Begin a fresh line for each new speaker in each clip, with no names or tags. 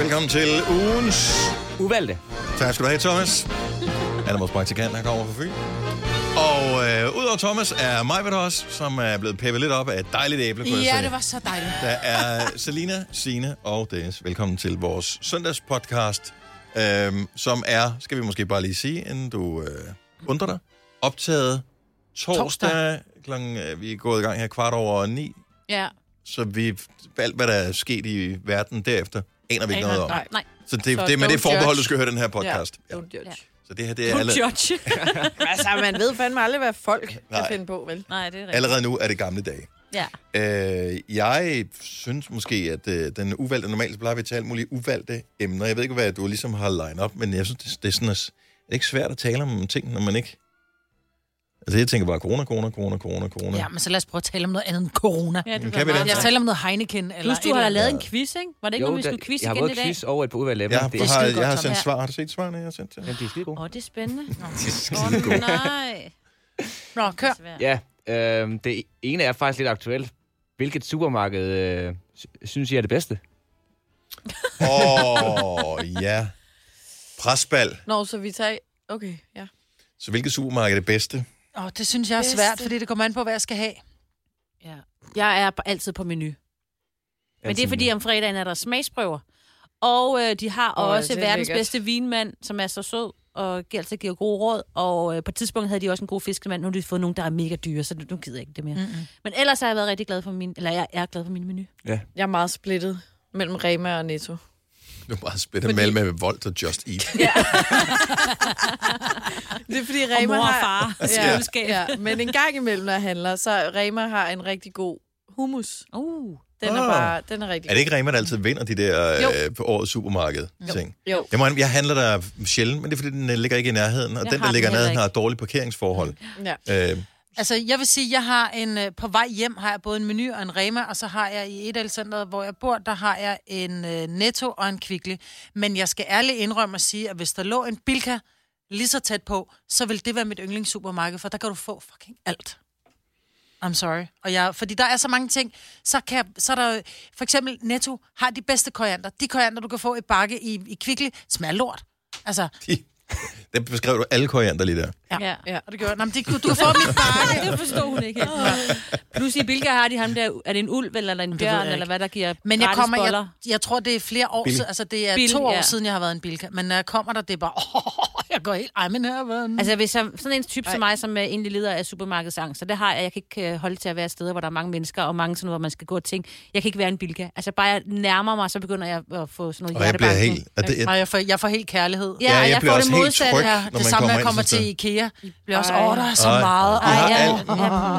velkommen til ugens...
Uvalgte.
Tak skal du have, Thomas. Han er vores praktikant, han kommer fra Fyn. Og øh, udover Thomas er Majbert også, som er blevet peppet lidt op af et dejligt æble. kunne jeg
Ja,
se.
det var så dejligt.
Der er Selina, Sine og Dennis. Velkommen til vores søndagspodcast, øhm, som er, skal vi måske bare lige sige, inden du øh, undrer dig, optaget torsdag, torsdag.
Torsdag.
Klokken, øh, vi er gået i gang her kvart over ni,
Ja.
så vi, alt hvad der er sket i verden derefter, aner vi ikke noget om.
Nej. Nej.
Så det,
Så
det med
don't
det forbehold,
judge.
du skal høre den her podcast. Ja.
Don't judge.
Så det her, det er alle,
Judge.
Altså, man ved fandme aldrig, hvad folk kan
Nej.
finde på, vel?
Nej, det er rigtigt.
allerede nu er det gamle dage.
Ja.
Øh, jeg synes måske, at øh, den uvalgte, normalt så plejer vi at tale om mulige uvalgte emner. Jeg ved ikke, hvad du ligesom har line op, men jeg synes, det, det er sådan, at, er det ikke svært at tale om ting, når man ikke... Altså, jeg tænker bare corona, corona, corona, corona, corona.
Ja, men så lad os prøve at tale om noget andet end corona.
ja
Kan
det
vi
var
det?
meget.
Lad
Jeg
os
selv,
tale om noget Heineken. Eller
plus, du
et
har da
eller
lavet en quiz, ikke? Var det ikke, jo, vi skulle quizze
jeg har
igen i
både
dag?
quiz over et par udvalgte emner.
Jeg,
det
jeg, har,
er,
jeg har
Tom,
sendt
ja.
svar. Har du set svarene, jeg har sendt til?
jamen, de er skide gode.
Åh, oh, det er spændende. Åh,
skide
oh, nej.
andet. Nå, kør.
Ja, øh, det ene er faktisk lidt aktuelt. Hvilket supermarked øh, sy- synes I er det bedste?
Åh, oh, ja. Presbal.
Nå, så vi tager... Okay, ja.
Så hvilket supermarked er det bedste?
Åh, oh, det synes jeg er svært, fordi det kommer an på, hvad jeg skal have.
Ja. Jeg er på- altid på menu. Men det er fordi, om fredagen er der smagsprøver. Og øh, de har
Åh,
oh, også
det er
verdens
lækkert.
bedste vinmand, som er så sød og gi- altid giver gode råd. Og øh, på et tidspunkt havde de også en god fiskemand. Nu har de fået nogle, der er mega dyre, så nu nu gider jeg ikke det mere. Mm-hmm. Men ellers har jeg været rigtig glad for min... Eller jeg er glad for min menu.
Jeg er meget splittet mellem Rema og Netto.
Du er meget spændt fordi... med Volt og Just Eat.
Det er fordi
Og
Rema
mor og
har...
far.
Ja,
Køleskab.
ja, men en gang imellem, når jeg handler, så Rema har en rigtig god hummus.
Uh.
Den er
Åh.
bare... Den er rigtig
Er det ikke Rema, der altid vinder de der øh, på årets supermarked-ting?
god. Jo.
Jeg, må, indrømme, jeg handler der sjældent, men det er fordi, den øh, ligger ikke i nærheden, og
Jeg
den, der
har den
ligger i
heller
nærheden,
ikke.
har dårlige parkeringsforhold.
Ja.
Øh,
Altså, jeg vil sige, jeg har en... øh, På vej hjem har jeg både en menu og en Rema, og så har jeg i Edalcenteret, hvor jeg bor, der har jeg en øh, Netto og en Kvickly. Men jeg skal ærligt indrømme at sige, at hvis der lå en Bilka lige så tæt på, så vil det være mit yndlingssupermarked, for der kan du få fucking alt. I'm sorry. Og jeg, fordi der er så mange ting, så, kan jeg, så er der... For eksempel Netto har de bedste koriander. De koriander, du kan få i bakke i, i Kvickly, smager lort. Altså,
de, der beskrev du alle koriander lige der.
ja.
Ja.
Ja.
Og det gjorde, Nå, men det, du, du kan få mit bakke.
Nej, det forstod hun ikke. Plus i Bilka har de ham der, er det en ulv eller en
ved jeg
bjørn,
ikke.
eller hvad der giver
Men jeg
gratis
kommer,
boller?
jeg, jeg tror, det er flere år
Bil.
siden, altså det er
Bil,
to år
ja.
siden, jeg har været en bilka. Men når jeg kommer der, det er bare, åh, jeg går helt, ej, men her har været en...
Altså hvis jeg, sådan en type som mig, som øh, egentlig lider af supermarkedsangst, så det har jeg, jeg kan ikke øh, holde til at være steder, hvor der er mange mennesker, og mange sådan noget, hvor man skal gå og tænke, jeg kan ikke være en bilka. Altså bare jeg nærmer mig, så begynder jeg at få sådan noget
Og jeg bliver
hjertebanken.
helt... Og det,
Nej, jeg får, jeg får helt kærlighed.
Altså- Ja, og jeg,
jeg bliver
får
også
det
helt
modsatte
tryg.
her.
Når
det
man
samme, når jeg
kommer
kommer
ind sådan
til
et
IKEA. Jeg bliver også,
Ej.
åh, der er så
Ej.
meget.
Jeg har
Ej,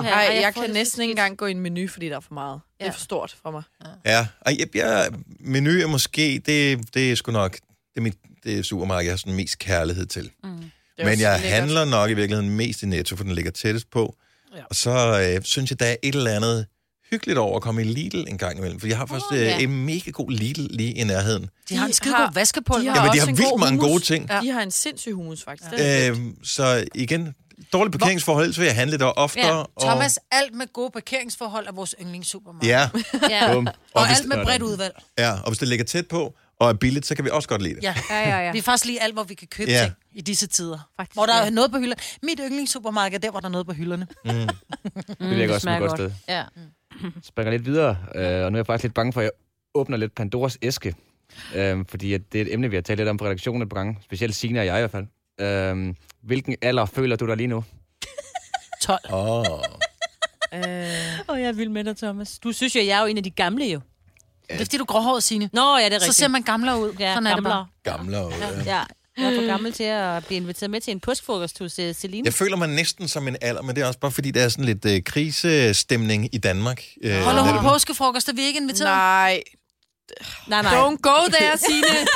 ja.
alt.
Ej, jeg kan næsten ikke engang gå i en menu, fordi der er for meget. Det er
Ja.
for stort for mig.
ja, og jeg, jeg, menu er måske... Det, det er sgu nok... Det er mit det er supermarked, jeg har sådan mest kærlighed til.
Det er
Men
også
jeg
lækkert.
handler nok i virkeligheden mest i Netto, for den ligger tættest på. Ja.
Ja.
Og så øh, synes jeg, der er et eller andet hyggeligt over at komme i Lidl en gang imellem. For jeg har faktisk øh,
ja.
en mega god Lidl lige i nærheden.
De har en
De
skide
har-
god vaskepulver.
de
Ja, men de
også
har
en
vildt
god
mange gode
hummus.
ting.
Ja. De har en sindssyg hummus, faktisk. Den er
Øh, så igen, dårlige parkeringsforhold, så vil jeg handle der oftere.
Ja,
og-
Thomas, alt med gode parkeringsforhold er vores yndlingssupermarked.
Ja,
Ja.
Bum.
Og,
hvis-
alt med bredt udvalg.
ja, og hvis det ligger tæt på og er billigt, så kan vi også godt lide det.
Ja.
Ja, ja, ja.
Vi er faktisk lige alt, hvor vi kan købe
Ja.
ting i disse tider.
Faktisk,
hvor der
ja.
er noget på hylderne. Mit yndlingssupermarked er der, hvor der er noget på hylderne.
Det virker
Mm. det
også som et
smager
godt sted.
Ja.
Springer lidt videre, øh, og nu er jeg faktisk lidt bange for, at jeg åbner lidt Pandoras æske. Øh, fordi at det er et emne, vi har talt lidt om på redaktionen et par gange. Specielt Signe og jeg i hvert fald. Øh, hvilken alder føler du dig lige nu?
12.
Oh.
øh,
Åh, jeg er vild med dig, Thomas. Du synes jo, jeg er jo en af de gamle jo.
Det er fordi, du er gråhåret, Signe.
Nå, ja, det er rigtigt.
Så ser man gamlere ud.
ja,
Sådan er det bare.
Gamle og, ja.
Ja, jeg er for gammel til at blive inviteret med til en påskefrokost hos uh, Celine.
Jeg føler mig næsten som en alder, men det er også bare fordi, der er sådan lidt øh, krisestemning i Danmark. Øh,
Holder
netop.
hun påskefrokost, og vi er ikke inviteret?
nej.
Nej, nej.
Don't go there, Signe.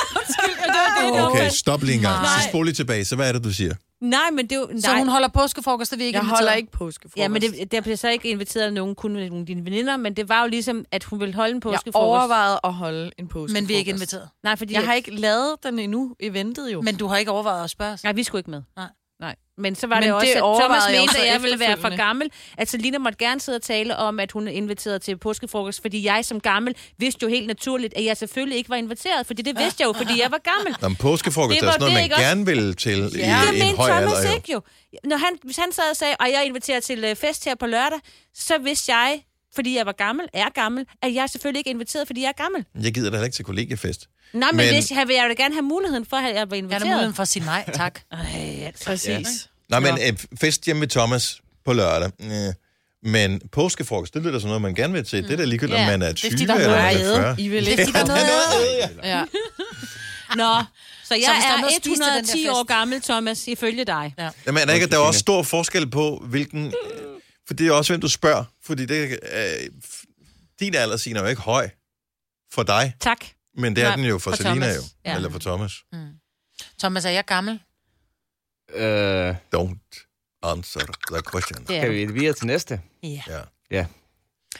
Okay, stop lige en gang.
Nej.
Så spol lige tilbage, så hvad er det, du siger?
Nej, men det er jo... Nej.
Så hun holder påskefrokost, og vi er ikke
Jeg
inviteret?
holder ikke påskefrokost.
Ja, men det, der blev så ikke inviteret nogen, kun nogle af dine veninder, men det var jo ligesom, at hun ville holde en
jeg
påskefrokost.
overvejede at holde en påskefrokost.
Men vi er ikke inviteret.
Nej, fordi...
Jeg har ikke lavet den endnu. I ventede jo.
Men du har ikke overvejet at spørge os.
Nej, vi skulle ikke med.
Nej.
Nej. Men så var
Men
det også,
det
at
overvejede
Thomas
jeg
mente,
jo så
at jeg ville være for
efterfølgende.
gammel. At Selina måtte gerne sidde og tale om, at hun inviterede til påskefrokost, fordi jeg som gammel vidste jo helt naturligt, at jeg selvfølgelig ikke var inviteret, fordi det vidste jeg jo, fordi jeg var gammel.
Nå, men påskefrokost
Det
er
var
sådan noget,
det,
man
ikke også?
gerne vil til
Ja.
i
Det
en
mente
høj
Thomas
alder. Jo.
ikke jo. Når han, hvis han sad og sagde, at jeg inviterer til øh, fest her på lørdag, så vidste jeg, fordi jeg var gammel, er gammel, at jeg selvfølgelig ikke er inviteret, fordi jeg er gammel.
Jeg gider da heller ikke til kollegiefest.
Nej, men,
Men-
men... Hvis, jeg vil jeg vil gerne have muligheden for, at jeg var
Jeg er
inviteret.
der muligheden for at sige nej, tak.
Ej, altså.
Præcis.
Nå, men øh, fest hjemme ved Thomas på lørdag. Øh. Men påskefrokost, det lyder da som noget, man gerne vil til. Det er da ligegyldigt,
Ja,
om man er
er
20
fordi, der er
eller
noget
man
at
er 40.
I vil
Det er
ikke.
fordi, der er noget
Ja.
Ja.
Nå, så jeg
Så hvis der er
er
noget at spise til den der
110
fest.
år gammel, Thomas, ifølge dig.
Ja.
Jamen, er der ikke, at der er også stor forskel på, hvilken... øh, For det er også, hvem du spørger. Fordi det, øh, f- din alder, Signe, er jo ikke høj for dig.
Tak.
Men det er
Nej,
den jo for,
for
Selina
Thomas.
jo.
Ja.
Eller for Thomas.
Thomas, er jeg gammel?
Øh,
Don't answer the question.
Det
kan
er.
vi videre til næste?
Ja.
Ja.
Ja.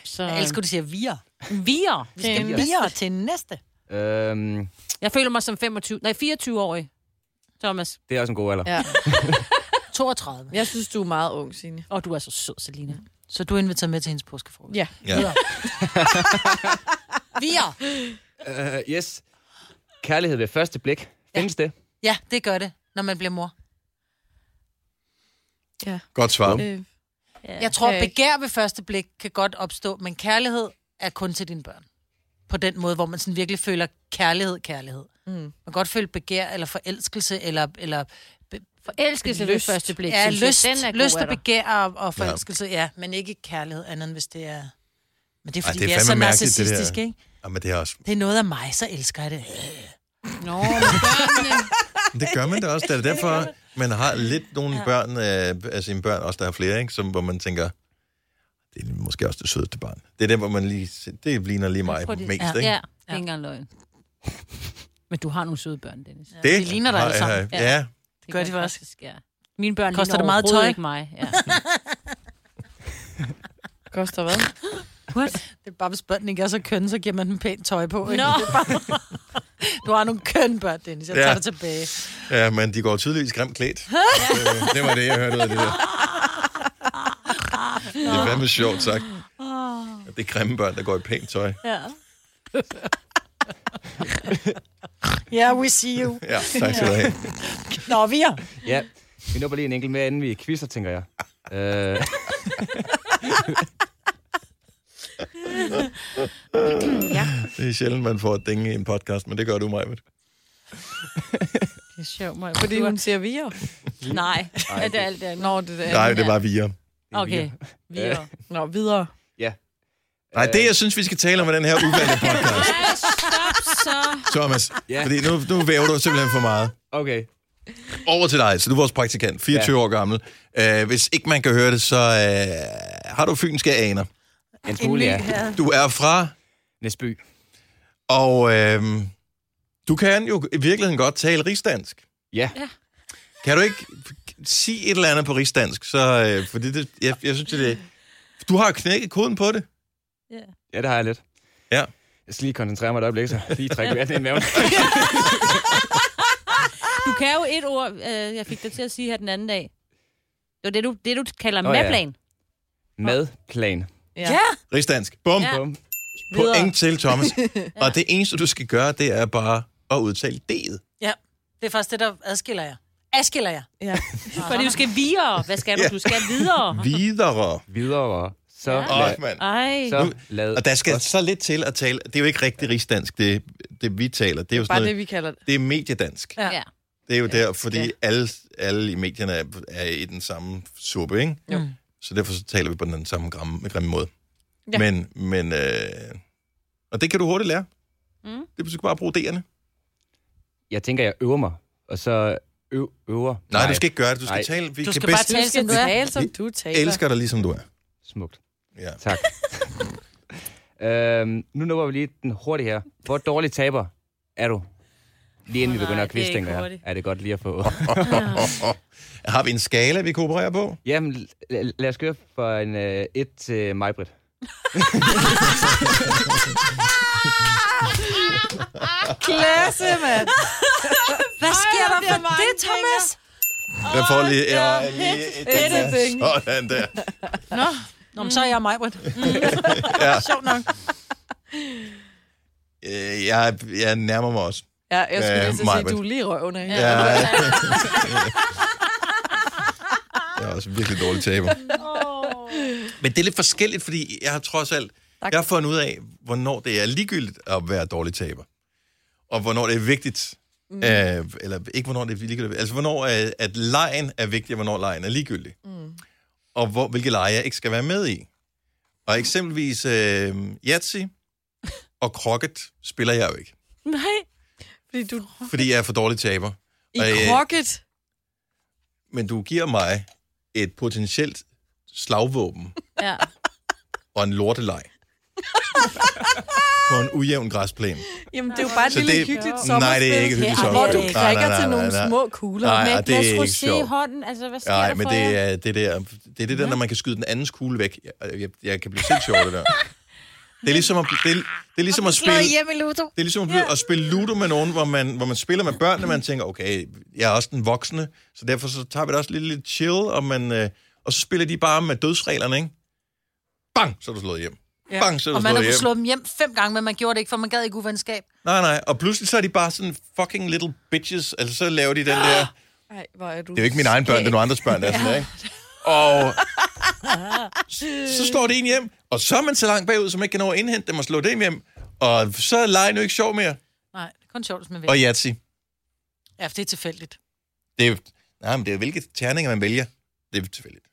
Så... øh,
Jeg elsker, du siger vier.
Vier. Vi skal
Det er en-
videre.
Vier til næste.
Øhm,
Jeg føler mig som 25, nej, 24-årig, Thomas.
det er også en god alder.
ja.
32.
Jeg synes, du er meget ung, Signe.
Og du er så sød, Selina.
Så du er inviteret med til hendes påskefrokost.
Ja.
ja.
Vier.
Ja. Øh, yes. Kærlighed ved første blik. Findes det?
Ja, det gør det, når man bliver mor.
Ja.
Godt svar.
Øh,
Jeg tror,
Okay.
begær ved første blik kan godt opstå, men kærlighed er kun til dine børn. På den måde, hvor man sådan virkelig føler kærlighed, kærlighed. Mm. Man kan godt føle begær eller forelskelse, eller, eller
Forelskelse ved
Lyst.
første blik.
ja,
synes jeg.
lyst,
Den er
lyst
god, er
og
der.
begær og, og forelskelse, ja. men ikke kærlighed andet, end hvis det er... Men det er, fordi
det er
det er vi er
fandme
så
mærkeligt, det der.
narcissistisk, ikke?
Jamen, det er også...
Det er noget af mig, så elsker jeg det.
Nå, men børnene.
Det gør man da også. Det er derfor, man har lidt nogle børn, øh, altså sine børn også, der har flere, ikke? Som, hvor man tænker, det er måske også det sødeste barn. Det er der, hvor man lige... Det ligner lige mig
Prøv lige-
mest,
Ja.
ikke?
Ja, det er ikke engang løgn. Men du har nogle søde børn, Dennis. Ja,
Det
de ligner dig
har
alle sammen.
jeg- Ja,
Gør de faktisk?
Ja. Mine børn
Koster
ligner
det meget
overhovedet
tøj?
ikke mig. Ja.
koster hvad?
What?
Det er bare, hvis børnene ikke er så kønne, så giver man dem pænt tøj på. Ikke?
Nå.
Du har nogle kønne børn, Dennis. Jeg
Ja.
tager det tilbage.
Ja, men de går tydeligvis grimt klædt. Øh, det var det, jeg hørte ud af det der. Det er fandme sjovt sagt. At Det er grimme børn, der går i pænt tøj.
Yeah, we see you.
Ja, tak skal du have.
Nå, vi er.
Ja. Vi når bare lige en enkelt mere, inden vi quizzer, tænker jeg. Øh,
Det er sjældent, man får et dænge i en podcast, men det gør du, Majbet.
Det er sjovt, mig.
Fordi hun siger vi jo.
Nej, er det alt det andet?
Nå, det er
Nej, det var via.
Okay, vi er...
Nå, videre.
Nej, det jeg synes, vi skal tale om i den her uvalgte podcast,
Ej, stop så.
Thomas.
Ja.
Fordi nu, nu væver du simpelthen for meget.
okay.
Over til dig, så du er vores praktikant, 24 år gammel. Uh, hvis ikke man kan høre det, så uh, har du fynske aner.
En smule, ja.
Du er fra
Næsby.
Og øhm, du kan jo i virkeligheden godt tale rigsdansk.
Ja.
Kan du ikke f- sige et eller andet på rigsdansk? Så, øh, fordi det, jeg, jeg synes, det er... Du har jo knækket koden på det.
Ja, det har jeg lidt.
Ja.
Jeg skal lige koncentrere mig et øjeblik, så lige trække vejret ned i maven.
Du kan jo et ord, øh, jeg fik dig til at sige her den anden dag. Det var det, du, det, du kalder
Nå,
oh,
ja.
madplan.
Madplan.
Ja.
Rigsdansk. Bum. Ja.
Ja.
Bum.
Point til, Thomas. Og det eneste, du skal gøre, det er bare at udtale D'et.
Ja, det er faktisk det, der adskiller jer. Adskiller jer.
Ja.
Fordi du skal videre. Hvad skal du?
Ja.
Du skal videre.
Videre.
Videre. Så
Åh,
lad,
mand.
Ej.
så
Nu-
lad
Og der skal
os-
så lidt til at tale... Det er jo ikke rigtig rigsdansk, det, det vi taler. Det er jo sådan
Bare det,
noget...
vi kalder det.
Det er mediedansk.
Ja.
Det er jo der, fordi alle, alle i medierne er, er i den samme suppe, ikke?
Jo.
Så derfor så taler vi på den samme grimme, grimme måde. Ja.
Ja.
Men, men øh, og det kan du hurtigt lære. Mm.
Mm.
Det du skal bare bruge D'erne. Nej,
Jeg tænker, jeg øver mig. Og så øv, øver.
Nej, du skal ikke gøre det. Du skal
Nej.
tale. Vi
Du
kan
skal
bedst
bare tale, som
Du
du er.
taler, som du taler.
elsker dig, ligesom du er.
Smukt.
Ja.
Tak. øhm, nu når vi lige den hurtige her. Hvor dårlig taber er du? Lige inden vi
Åh,
begynder
nej,
at
det er
quiz,
ikke
tænker jeg.
hurtigt.
Er det godt lige at få...
Har vi en skala, vi kan operere på?
Jamen, la- lad os køre for en 1 øh, et til mig, Britt.
Klasse, mand.
Hvad sker
Ej,
der
det er
for
mange
det, Thomas?
Jeg får lige, jeg har lige et,
Anything.
sådan der.
Nå, Nå men så er jeg mig, Britt.
Ja,
Sjovt nok.
øh, jeg, jeg nærmer mig også.
Ja, jeg skulle
Ja,
lige så sige,
Maj-Brit.
du er lige røven af.
Ja. Jeg er også virkelig dårlig taber. Men det er lidt forskelligt, fordi jeg har trods alt, jeg har fundet ud af, hvornår det er ligegyldigt at være dårlig taber. Og hvornår det er vigtigt. Mm. Øh, eller ikke hvornår det er ligegyldigt. Altså hvornår øh, at lejen er vigtig, og hvornår lejen er ligegyldig. Mm. Og hvor, hvilke lege jeg ikke skal være med i. Og eksempelvis øh, Yahtzee og Crocket spiller jeg jo ikke,
Nej.
Fordi du...
fordi jeg er for dårlig taber.
I
Og, øh,
krokket.
Men du giver mig et potentielt slagvåben
Ja.
og en lortelej på en ujævn græsplæne.
Jamen, det er jo bare et
Så
lille
det-
hyggeligt
Nej,
sommerspil.
det er ikke et hyggeligt
Ja, Hvor du
sommerspil. Nej,
krikker
nej,
til
nej,
nogle
nej.
små kugler.
Nej,
Med
og
Nej.
et
det er
glas
ikke
rosé i
sjovt.
hånden. Altså, hvad sker
Nej,
der
men
for
det
jer?
er det, der, det er det der, når man kan skyde den andens kugle væk. Jeg, jeg, jeg kan blive sindssyg over det der. Det er ligesom at, det er, det er ligesom at spille...
Slået hjem i Ludo.
Det er ligesom at, blive, at spille Ludo med nogen, hvor man, hvor man spiller med børnene, man tænker, okay, jeg er også den voksne, så derfor så tager vi det også lidt, lidt chill, og, man, øh, og så spiller de bare med dødsreglerne, ikke? Bang, så er du slået hjem. Ja. Bang, så er du
Og man har
slået hjem.
kunnet slå dem hjem fem gange, men man gjorde det ikke, for man gad ikke uvenskab.
Nej, nej, og pludselig så er de bare sådan fucking little bitches, altså så laver de den
Ah.
der...
Ej, hvor er du...
Det er jo ikke mine egne børn, det er nogle andres børn, der er sådan der, ikke? Og så slår det en hjem, og så er man så langt bagud, som ikke kan nå at indhente dem og slå dem hjem. Og så er lejen jo ikke sjov mere.
Nej, det er kun sjovt, hvis man vil.
Og Yahtzee.
Ja, for det er tilfældigt.
Det er, nej, men det er hvilke terninger man vælger. Det er tilfældigt.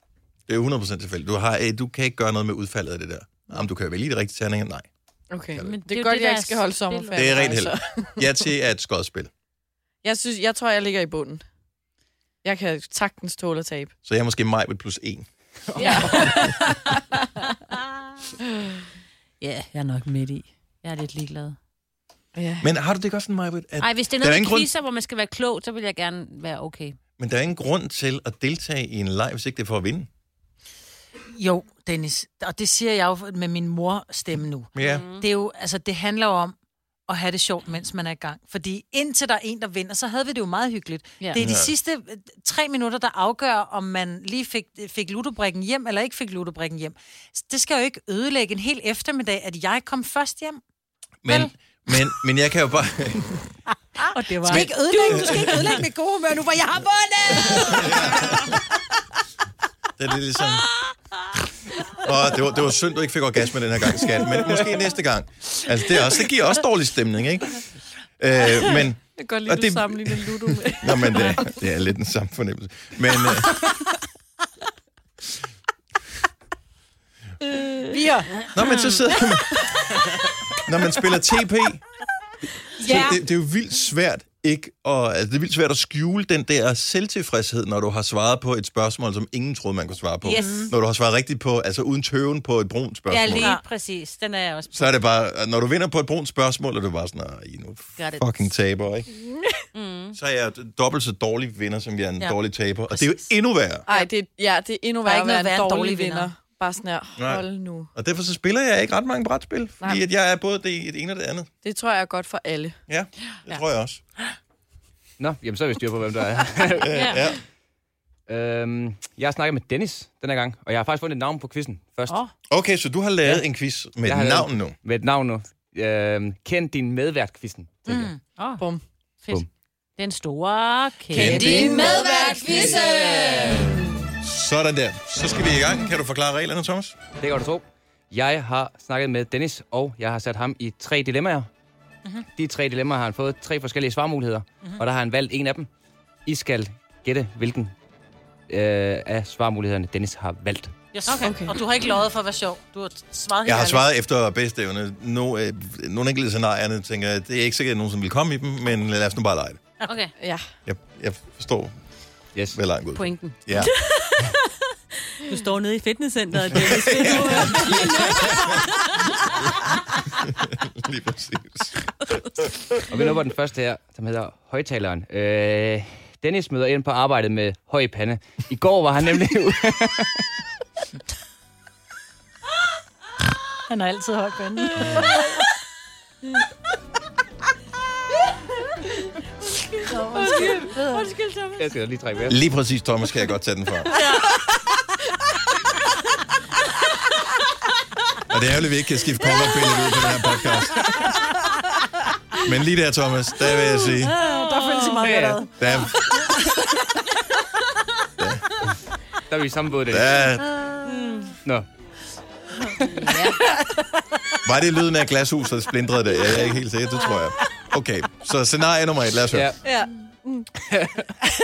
Det er 100% tilfældigt. Du, har, øh, du kan ikke gøre noget med udfaldet af det der. Jamen, du kan jo vælge de rigtige terninger. Nej.
Okay,
Men
men det
det er
er
jo
godt,
det,
jeg
der
ikke skal
er
holde
spillet.
sommerferie.
Det er rent
altså.
held. Ja til er et skodspil.
Jeg, synes, jeg tror, jeg ligger i bunden. Jeg kan sagtens tåle at tabe.
Så jeg er måske mig med plus en.
Ja. ja, jeg er nok midt i. Jeg er lidt ligeglad.
Ja.
Men har du det godt sådan, Majbrit? At,
Nej, hvis det er
Der er
noget
ingen
med
grund-
quizzer, hvor man skal være klog, så vil jeg gerne være okay.
men der er ingen grund til at deltage i en leg, hvis ikke det er for at vinde.
Jo, Dennis, og det siger jeg jo med min mor stemme nu.
Ja.
Det er jo, altså, det handler jo om at have det sjovt, mens man er i gang. Fordi indtil der er en, der vinder, så havde vi det jo meget hyggeligt.
Ja.
Ja. Det er de
Ja.
sidste øh, tre minutter, der afgør, om man lige fik, fik ludobrikken hjem, eller ikke fik ludobrikken hjem. Så Det skal jo ikke ødelægge en hel eftermiddag, at jeg kom først hjem.
Men,
Vel?
men, men jeg kan jo bare...
Og det var...
Ah, Du skal ikke ødelægge, du skal ikke ødelægge mit gode humør nu, hvor jeg har vundet!
Det er lidt ligesom... Og det var, det var synd, du ikke fik orgasme den her gang, skat. Men måske næste gang. Altså, det, er også, det giver også dårlig stemning, ikke? Øh, men,
Jeg kan godt
Og
lide, at
det-
du sammenligner Ludo med.
Nå, men det, det er lidt den samme fornemmelse. Men, øh,
Vi er
nå, men så sidder man... Når man spiller TP, ja. det, det er jo vildt svært ikke og altså, det er vildt svært at skjule den der selvtilfredshed, når du har svaret på et spørgsmål, som ingen troede, man kunne svare på.
Yes.
Mhm.
Når du har svaret rigtigt på, altså uden tøven på et brunt spørgsmål.
Ja, lige præcis. Den er jeg også.
så er det bare, når du vinder på et brunt spørgsmål, er du bare sådan, "Ah, I er nu
Got it."
fucking taber, ikke? Mm. Så er jeg dobbelt så dårlig vinder, som jeg er en ja.
Ja.
dårlig taber. Og det er jo endnu værre.
Ej, det, er- ja, det er endnu
Der er
værre at
ikke
være
noget
en
værre
dårlig, dårlig
end dårlig
vinder.
vinder.
Bare sådan her,
Nej.
hold nu.
Og derfor så spiller jeg ikke ret mange brætspil, fordi
Nej.
at jeg er både det, det ene og det andet.
Det tror jeg er godt for alle.
Ja, det ja. tror jeg også.
Nå, jamen så er vi styr på, hvem der er.
Ja. ja.
øhm, jeg har snakket med Dennis den her gang, og jeg har faktisk fundet et navn på quizzen først.
Åh.
Okay, så du har lavet ja. en quiz med
Jeg har
et
lavet-
navn nu.
Med et navn nu. Øhm, kend din medvært quizzen. Mm.
Åh, oh,
Bum.
fedt.
Bum.
Den store
Kend
kæde.
din
medvært,
Sådan der. Så skal vi i gang. Kan du forklare reglerne, Thomas?
Det kan du tro. Jeg har snakket med Dennis, og jeg har sat ham i tre dilemmaer. Mm-hmm. De tre dilemmaer har han fået tre forskellige svarmuligheder, mm-hmm. og der har han valgt en af dem. I skal gætte, hvilken øh, af svarmulighederne Dennis har valgt.
Yes. Okay. okay. Og du har ikke løjet for at være sjov. Du har svaret helt
Jeg har
ærligt.
svaret efter bedste evne. No, øh, nogle enkelte scenarierne tænker jeg, det er ikke sikkert, at nogen som vil komme i dem, men lad os nu bare lege det.
Okay,
Ja.
Jeg, jeg forstår,
Yes.
hvad lejen går ud. på.
pointen.
Ja.
Du står nede i fitnesscenteret, Dennis. Ved du, øh,
Lige præcis.
Og vi når på den første her, som hedder Højtaleren. Øh, Dennis møder ind på arbejdet med høj pande. I går var han nemlig ude.
Han har altid højt på anden.
Nå, undskyld.
Undskyld, Thomas.
Jeg skal lige trække vejret.
Lige præcis, Thomas, kan jeg godt tage den fra. Og det er ærgerligt, at vi ikke kan skifte coverbillede ud på den her podcast. Men lige der, Thomas, der vil jeg sige,
Ah, Der føles det meget godt ad.
der,
Der er vi i samme båd, Dennis.
der,
Nå.
var det lyden af et glashus, der splindrede det? Jeg er ikke helt sikker, det tror jeg. Okay, så scenarie nummer et, lad os høre.
Ja.
Ja. Mm.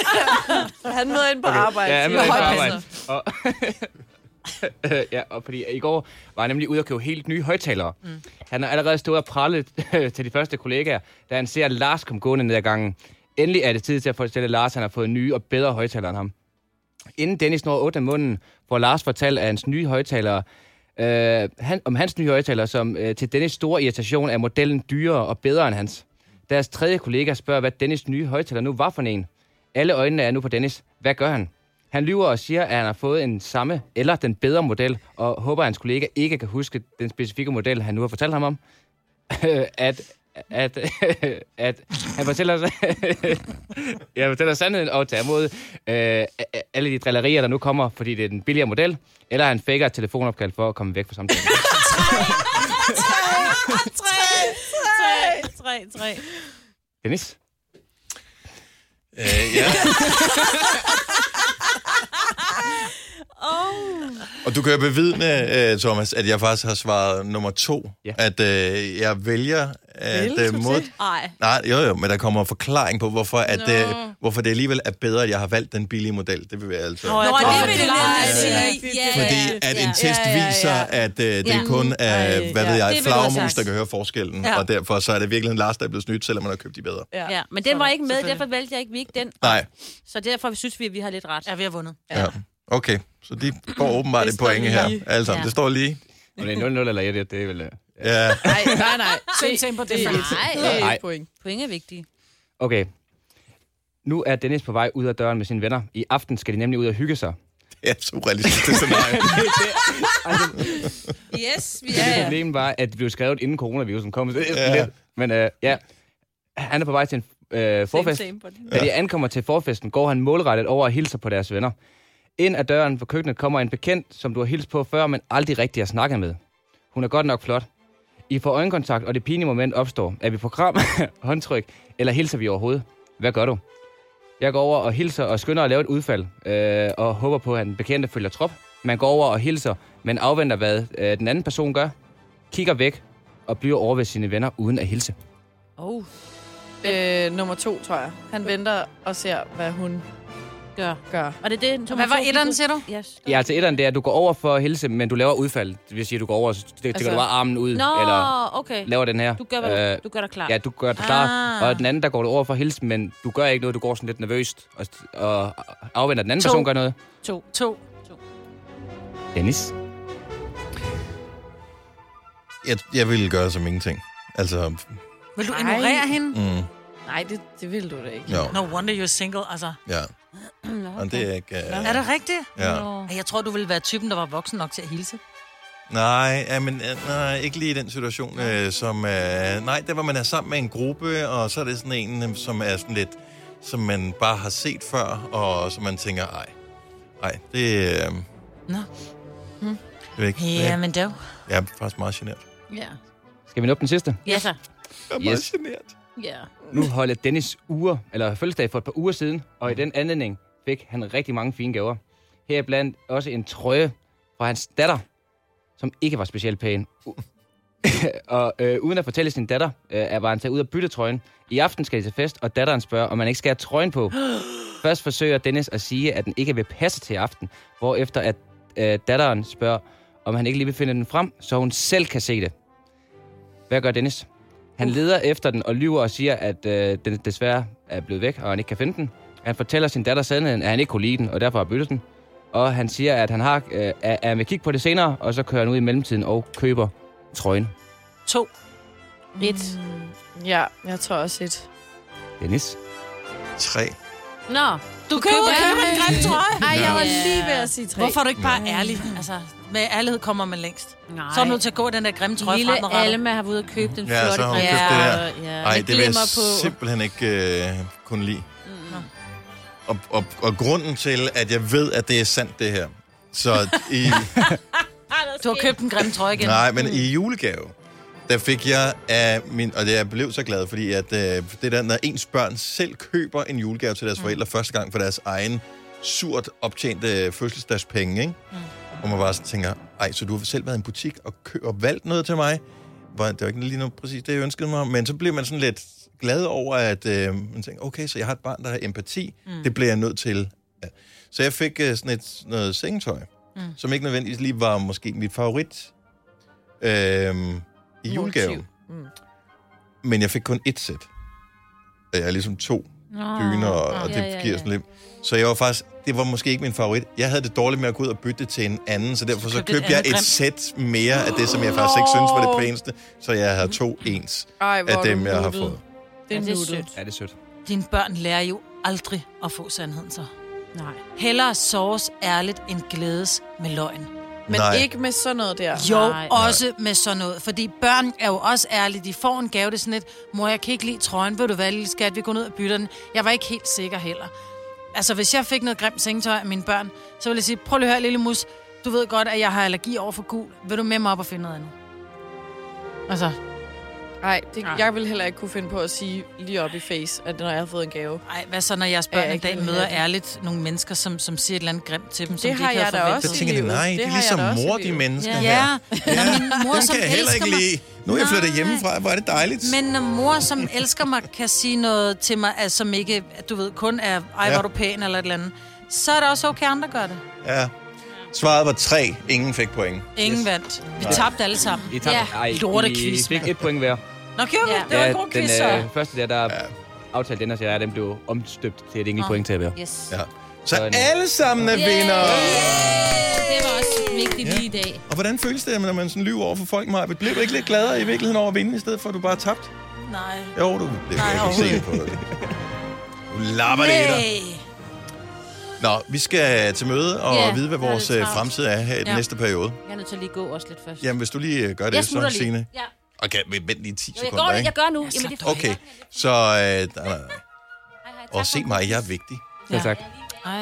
Han møder ind på okay. arbejde.
Ja, jeg
siger,
med på
"Høj,
arbejde.
passer."
Og, ja, og fordi i går var jeg nemlig ude og købe helt nye højtalere. Mm. Han har allerede stået og prallet til de første kollegaer, da han ser Lars komme gående ned ad gangen. Endelig er det tid til at fortælle at Lars, at han har fået nye og bedre højtalere end ham. Inden Dennis når 8 af munden, får Lars fortalt af hans nye højtalere, øh, han, om hans nye højtalere, som øh, til Dennis store irritation er modellen dyrere og bedre end hans. Deres tredje kollega spørger, hvad Dennis' nye højtaler nu var for en. Alle øjnene er nu på Dennis. Hvad gør han? Han lyver og siger, at han har fået en samme eller den bedre model, og håber, at hans kollega ikke kan huske den specifikke model, han nu har fortalt ham om. at, at, at han fortæller, jeg fortæller sandheden og tager imod øh, alle de drillerier, der nu kommer, fordi det er den billigere model, eller han faker et telefonopkald for at komme væk fra samtalen.
Tre, tre, tre, tre.
Dennis?
Øh, ja.
Oh.
Og du kan jo bevidne, øh, Thomas, at jeg faktisk har svaret nummer to.
Ja.
At øh, jeg vælger at
Vælger
øh,
du
mod...
til?
Ej.
Nej, jo jo, men der kommer en forklaring på, hvorfor, at,
Nå.
øh, hvorfor det alligevel er bedre, at jeg har valgt den billige model. Det vil jeg altså.
Nå,
Nå,
det
det
er
vil det
klart,
nemlig
det er
sige.
rigtigt.
Ja,
Fordi
ja,
at
ja.
en test
Ja, ja, ja.
viser, at øh, det
Ja.
kun er,
Ej,
hvad
ja.
ved jeg, et
Det ville du have
flagermus,
sagt.
der kan høre forskellen.
Ja.
Og derfor så er det virkelig en Lars, der er blevet snydt, selvom man har købt de bedre.
Ja.
Ja, men den var ikke med, derfor valgte jeg ikke, vi ikke den.
Nej,
Så derfor synes vi, at vi har lidt ret.
Ja, vi har vundet.
ja. Okay, så de går åbenbart
Det
et
står
point her.
lige.
Altså,
Ja.
det står lige.
Om det er 0-0 eller 1, det er vel... øh, Ja.
Ja.
Nej, nej, nej.
Send til på det.
Det er
Nej.
et, det er
Nej.
et point.
Point er vigtige.
Okay. Nu er Dennis på vej ud af døren med sine venner. I aften skal de nemlig ud og hygge sig.
Det er et surrealistisk scenarie.
Yes, vi
Altså, Det problem var, at det blev skrevet inden coronavirusen kom. Så det er sådan
Ja.
lidt. Men øh, ja, han er på vej til en øh, forfest.
Same, same
Da de ankommer til forfesten, går han målrettet over og hilser på deres venner. Ind ad døren på køkkenet kommer en bekendt, som du har hilst på før, men aldrig rigtig har snakket med. Hun er godt nok flot. I får øjenkontakt, og det pinlige moment opstår. Er vi på kram, håndtryk, eller hilser vi overhovedet? Hvad gør du? Jeg går over og hilser og skynder at lave et udfald, øh, og håber på, at den bekendte følger trop. Man går over og hilser, men afventer, hvad øh, den anden person gør. Kigger væk og bliver over ved sine venner uden at hilse.
Oh,
Øh, nummer to, tror jeg. Han venter og ser, hvad hun
gør.
gør.
Og det er det, Thomas
Hvad var
Thorsen-
etteren, siger du?
Yes.
Ja, altså etteren, det er, at du går over for at hilse, men du laver udfald. Det vil sige, at du går over, så stikker altså...
Altså-
du bare armen ud,
Nå,
eller
okay.
laver den her.
Du gør, hvad
Øh,
du, du gør dig klar.
Ja, du gør dig klar.
Ah.
Og den anden, der går du over for at hilse, men du gør ikke noget. Du går sådan lidt nervøst og, og afventer, at den anden
To.
person gør noget.
To.
To.
Dennis?
Jeg, jeg ville gøre som ingenting. Altså,
Vil du
Ej.
ignorere hende?
mm,
Nej, det, det vil du da ikke.
jo,
No wonder you're single, altså.
ja. Og det er ikke...
Er
Uh,
det rigtigt?
ja.
Ej, Jeg tror, du ville være typen, der var voksen nok til at hilse.
Nej, ja, men, øh, nej, ikke lige i den situation, øh, som... Øh, nej, der hvor man er sammen med en gruppe, og så er det sådan en, øh, som er sådan lidt... Som man bare har set før, og som man tænker, ej, ej, det... Øh, Hmm.
Nå.
det er ikke,
Ja,
yeah.
men dog.
Jeg er faktisk meget genert.
Ja.
Skal vi nå den sidste?
Ja, så.
Jeg er
meget Yes.
genert.
Ja.
Nu holder Dennis uger, eller fødselsdag for et par uger siden, og i den anledning fik han rigtig mange fine gaver. Heriblandt også en trøje fra hans datter, som ikke var specielt pæn. U- og øh, uden at fortælle sin datter, øh, var han taget ud og bytte trøjen. I aften skal de til fest, og datteren spørger, om man ikke skal have trøjen på. Først forsøger Dennis at sige, at den ikke vil passe til i aften, hvorefter at øh, datteren spørger, om han ikke lige vil finde den frem, så hun selv kan se det. Hvad gør Dennis? Han leder efter den og lyver og siger, at øh, den desværre er blevet væk, og han ikke kan finde den. Han fortæller sin datter sandheden, at han ikke kunne lide den, og derfor har byttet den. Og han siger, at han har, øh, at at han vil kigge på det senere, og så kører han ud i mellemtiden og køber trøjen.
To.
Et.
Ja, jeg tror også et.
Dennis?
Tre.
Nå,
Du kan jo
køber
købe en
en-
grim trøje.
Ej, jeg var
Ja.
lige ved at sige tre.
Hvorfor er du ikke bare ærlig? Altså, med ærlighed kommer man længst.
Nej.
Så er du nødt til at gå i den der grimme trøje
Lille
fremadrettet.
Alma har været ude og købe den
Ja,
flotte
så har hun
grim
købt det der.
trøje, Ja,
Nej,
med
det vil jeg
glimmer på.
simpelthen ikke øh, kunne lide. Og, og, og grunden til, at jeg ved, at det er sandt, det her. Så i,
Du har købt en grim trøje igen.
nej, men i julegave, der fik jeg af min... Og jeg blev så glad, fordi at, øh, det der, når ens børn selv køber en julegave til deres forældre første gang for deres egen surt optjente øh, fødselsdagspenge, ikke? Hvor man bare sådan tænker, ej, så du har selv været i en butik og, kø- og valgt noget til mig? Var, det var ikke lige noget præcis det, jeg ønskede mig, men så bliver man sådan lidt glad over, at øh, man tænker, okay, så jeg har et barn, der har empati. Mm. Det bliver jeg nødt til. Ja. Så jeg fik øh, sådan et, noget sengetøj, mm. som ikke nødvendigvis lige var måske mit favorit øh, i julegave. Mm. Men jeg fik kun et sæt. Jeg er ligesom to
Nå.
dyner, og, og
Ja,
det
ja,
giver
ja.
sådan lidt. Så jeg var faktisk, det var måske ikke min favorit. Jeg havde det dårligt med at gå ud og bytte det til en anden, så derfor så
købte et
købte jeg
andet
et
grimt.
sæt mere af det, som jeg faktisk ikke synes var det pæneste. Så jeg havde to ens
Ej,
af
hvor er
dem,
du
jeg har
nuttet.
fået.
Det er
Ja, det er
nuttet.
sødt.
Ja, det er sødt.
Dine børn lærer jo aldrig at få sandheden så.
Nej.
Hellere såres ærligt end glædes med løgn.
Men
Nej.
ikke med sådan noget der.
Jo,
Nej.
Nej. også med sådan noget. Fordi børn er jo også ærlige. De får en gave, det er sådan lidt, mor, jeg kan ikke lide trøjen, vil du være lille skat, vi går ned og bytter den. Jeg var ikke helt sikker heller. Altså, hvis jeg fik noget grimt sengetøj af mine børn, så ville jeg sige, prøv lige at høre, lille mus, du ved godt, at jeg har allergi over for gul. Vil du med mig op og finde noget andet? Altså,
Nej, det, jeg vil heller ikke kunne finde på at sige lige op i face, at når jeg har fået en gave.
ej, hvad så, når jeres
Ja,
børn i
jeg
dag
kan
møder
høre det.
ærligt nogle mennesker, som, som siger et eller andet grimt til dem, som de
har
ikke havde
jeg da
forventet?
Så
også
tænker jeg,
livet.
nej,
Det
det er
har
ligesom
jeg da også i
mor, de
livet.
mennesker
Ja,
her.
ja. Når min mor,
Dem
som
kan jeg heller
elsker
ikke
mig,
lide. Nu er jeg flyttet
Nej.
hjemmefra. Hvor er det dejligt.
Men når mor, som elsker mig, kan sige noget til mig, altså, som ikke, du ved, kun er, ej,
Ja.
ja. var du pæn eller et eller andet, så er det også okay, andre gør det.
Ja. Svaret var tre. Ingen fik point.
Ingen yes. vandt. Vi tabte alle sammen.
I tabte, ja, ej,
lortequiz,
I fik et point hver.
Nå, gjorde ja.
Ja.
vi? Det var en god
den
quiz, så.
øh, første der, der ja. aftalte den her, så jeg, den blev omstøbt til et enkelt
Nå.
point til at være.
Yes.
Ja. Så
Sådan.
alle sammen er vinder.
Det var også vigtigt lige i dag.
Og hvordan føles det, når man sådan lyver over for folk, Maja? Blev du ikke lidt gladere i virkeligheden over at vinde, i stedet for at du bare tabte?
Nej.
Jo, du det kan
Nej,
jeg ikke se på det. Du lapper det i dig. Nå, vi skal til møde og
Ja,
vide, hvad
der er
vores
lidt
øh,
travlt.
fremtid er her i den
Ja.
næste periode.
Jeg er nødt til at lige gå også lidt først.
Jamen, hvis du lige øh, gør det,
jeg
så
smutter lige.
Signe.
Ja.
Okay, men vent lige 10
Jo, jeg,
sekunder,
går,
ikke?
jeg gør nu. Jamen, det er
Okay, så... Øh, nej, nej, nej.
Hej, hej, tak
Og se
for-
mig, jeg er vigtig.
Ja. Tak.
Ej.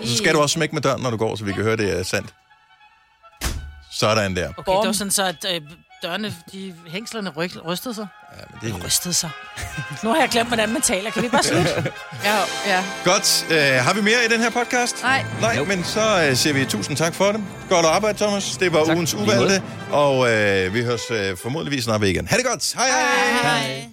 Og Så skal du også smække med døren, når du går, så vi kan høre, det er sandt. Sådan der.
Okay, det var sådan så, at øh, dørene, de hængslerne ryk, rystede sig.
Ja, men det er...
Rystede sig. Nu har jeg glemt, hvordan man taler. Kan vi bare slutte?
Ja, ja.
Godt. Øh, har vi mere i den her podcast?
Nej.
Nej,
Nope.
men så øh, siger vi tusind tak for det. Godt arbejde, Thomas. Det var
Tak.
ugens
Lige
uvalgte. Og øh, vi høres øh, formodentlig snart ved igen. Ha' det godt. Hej hej. hej.
Hej.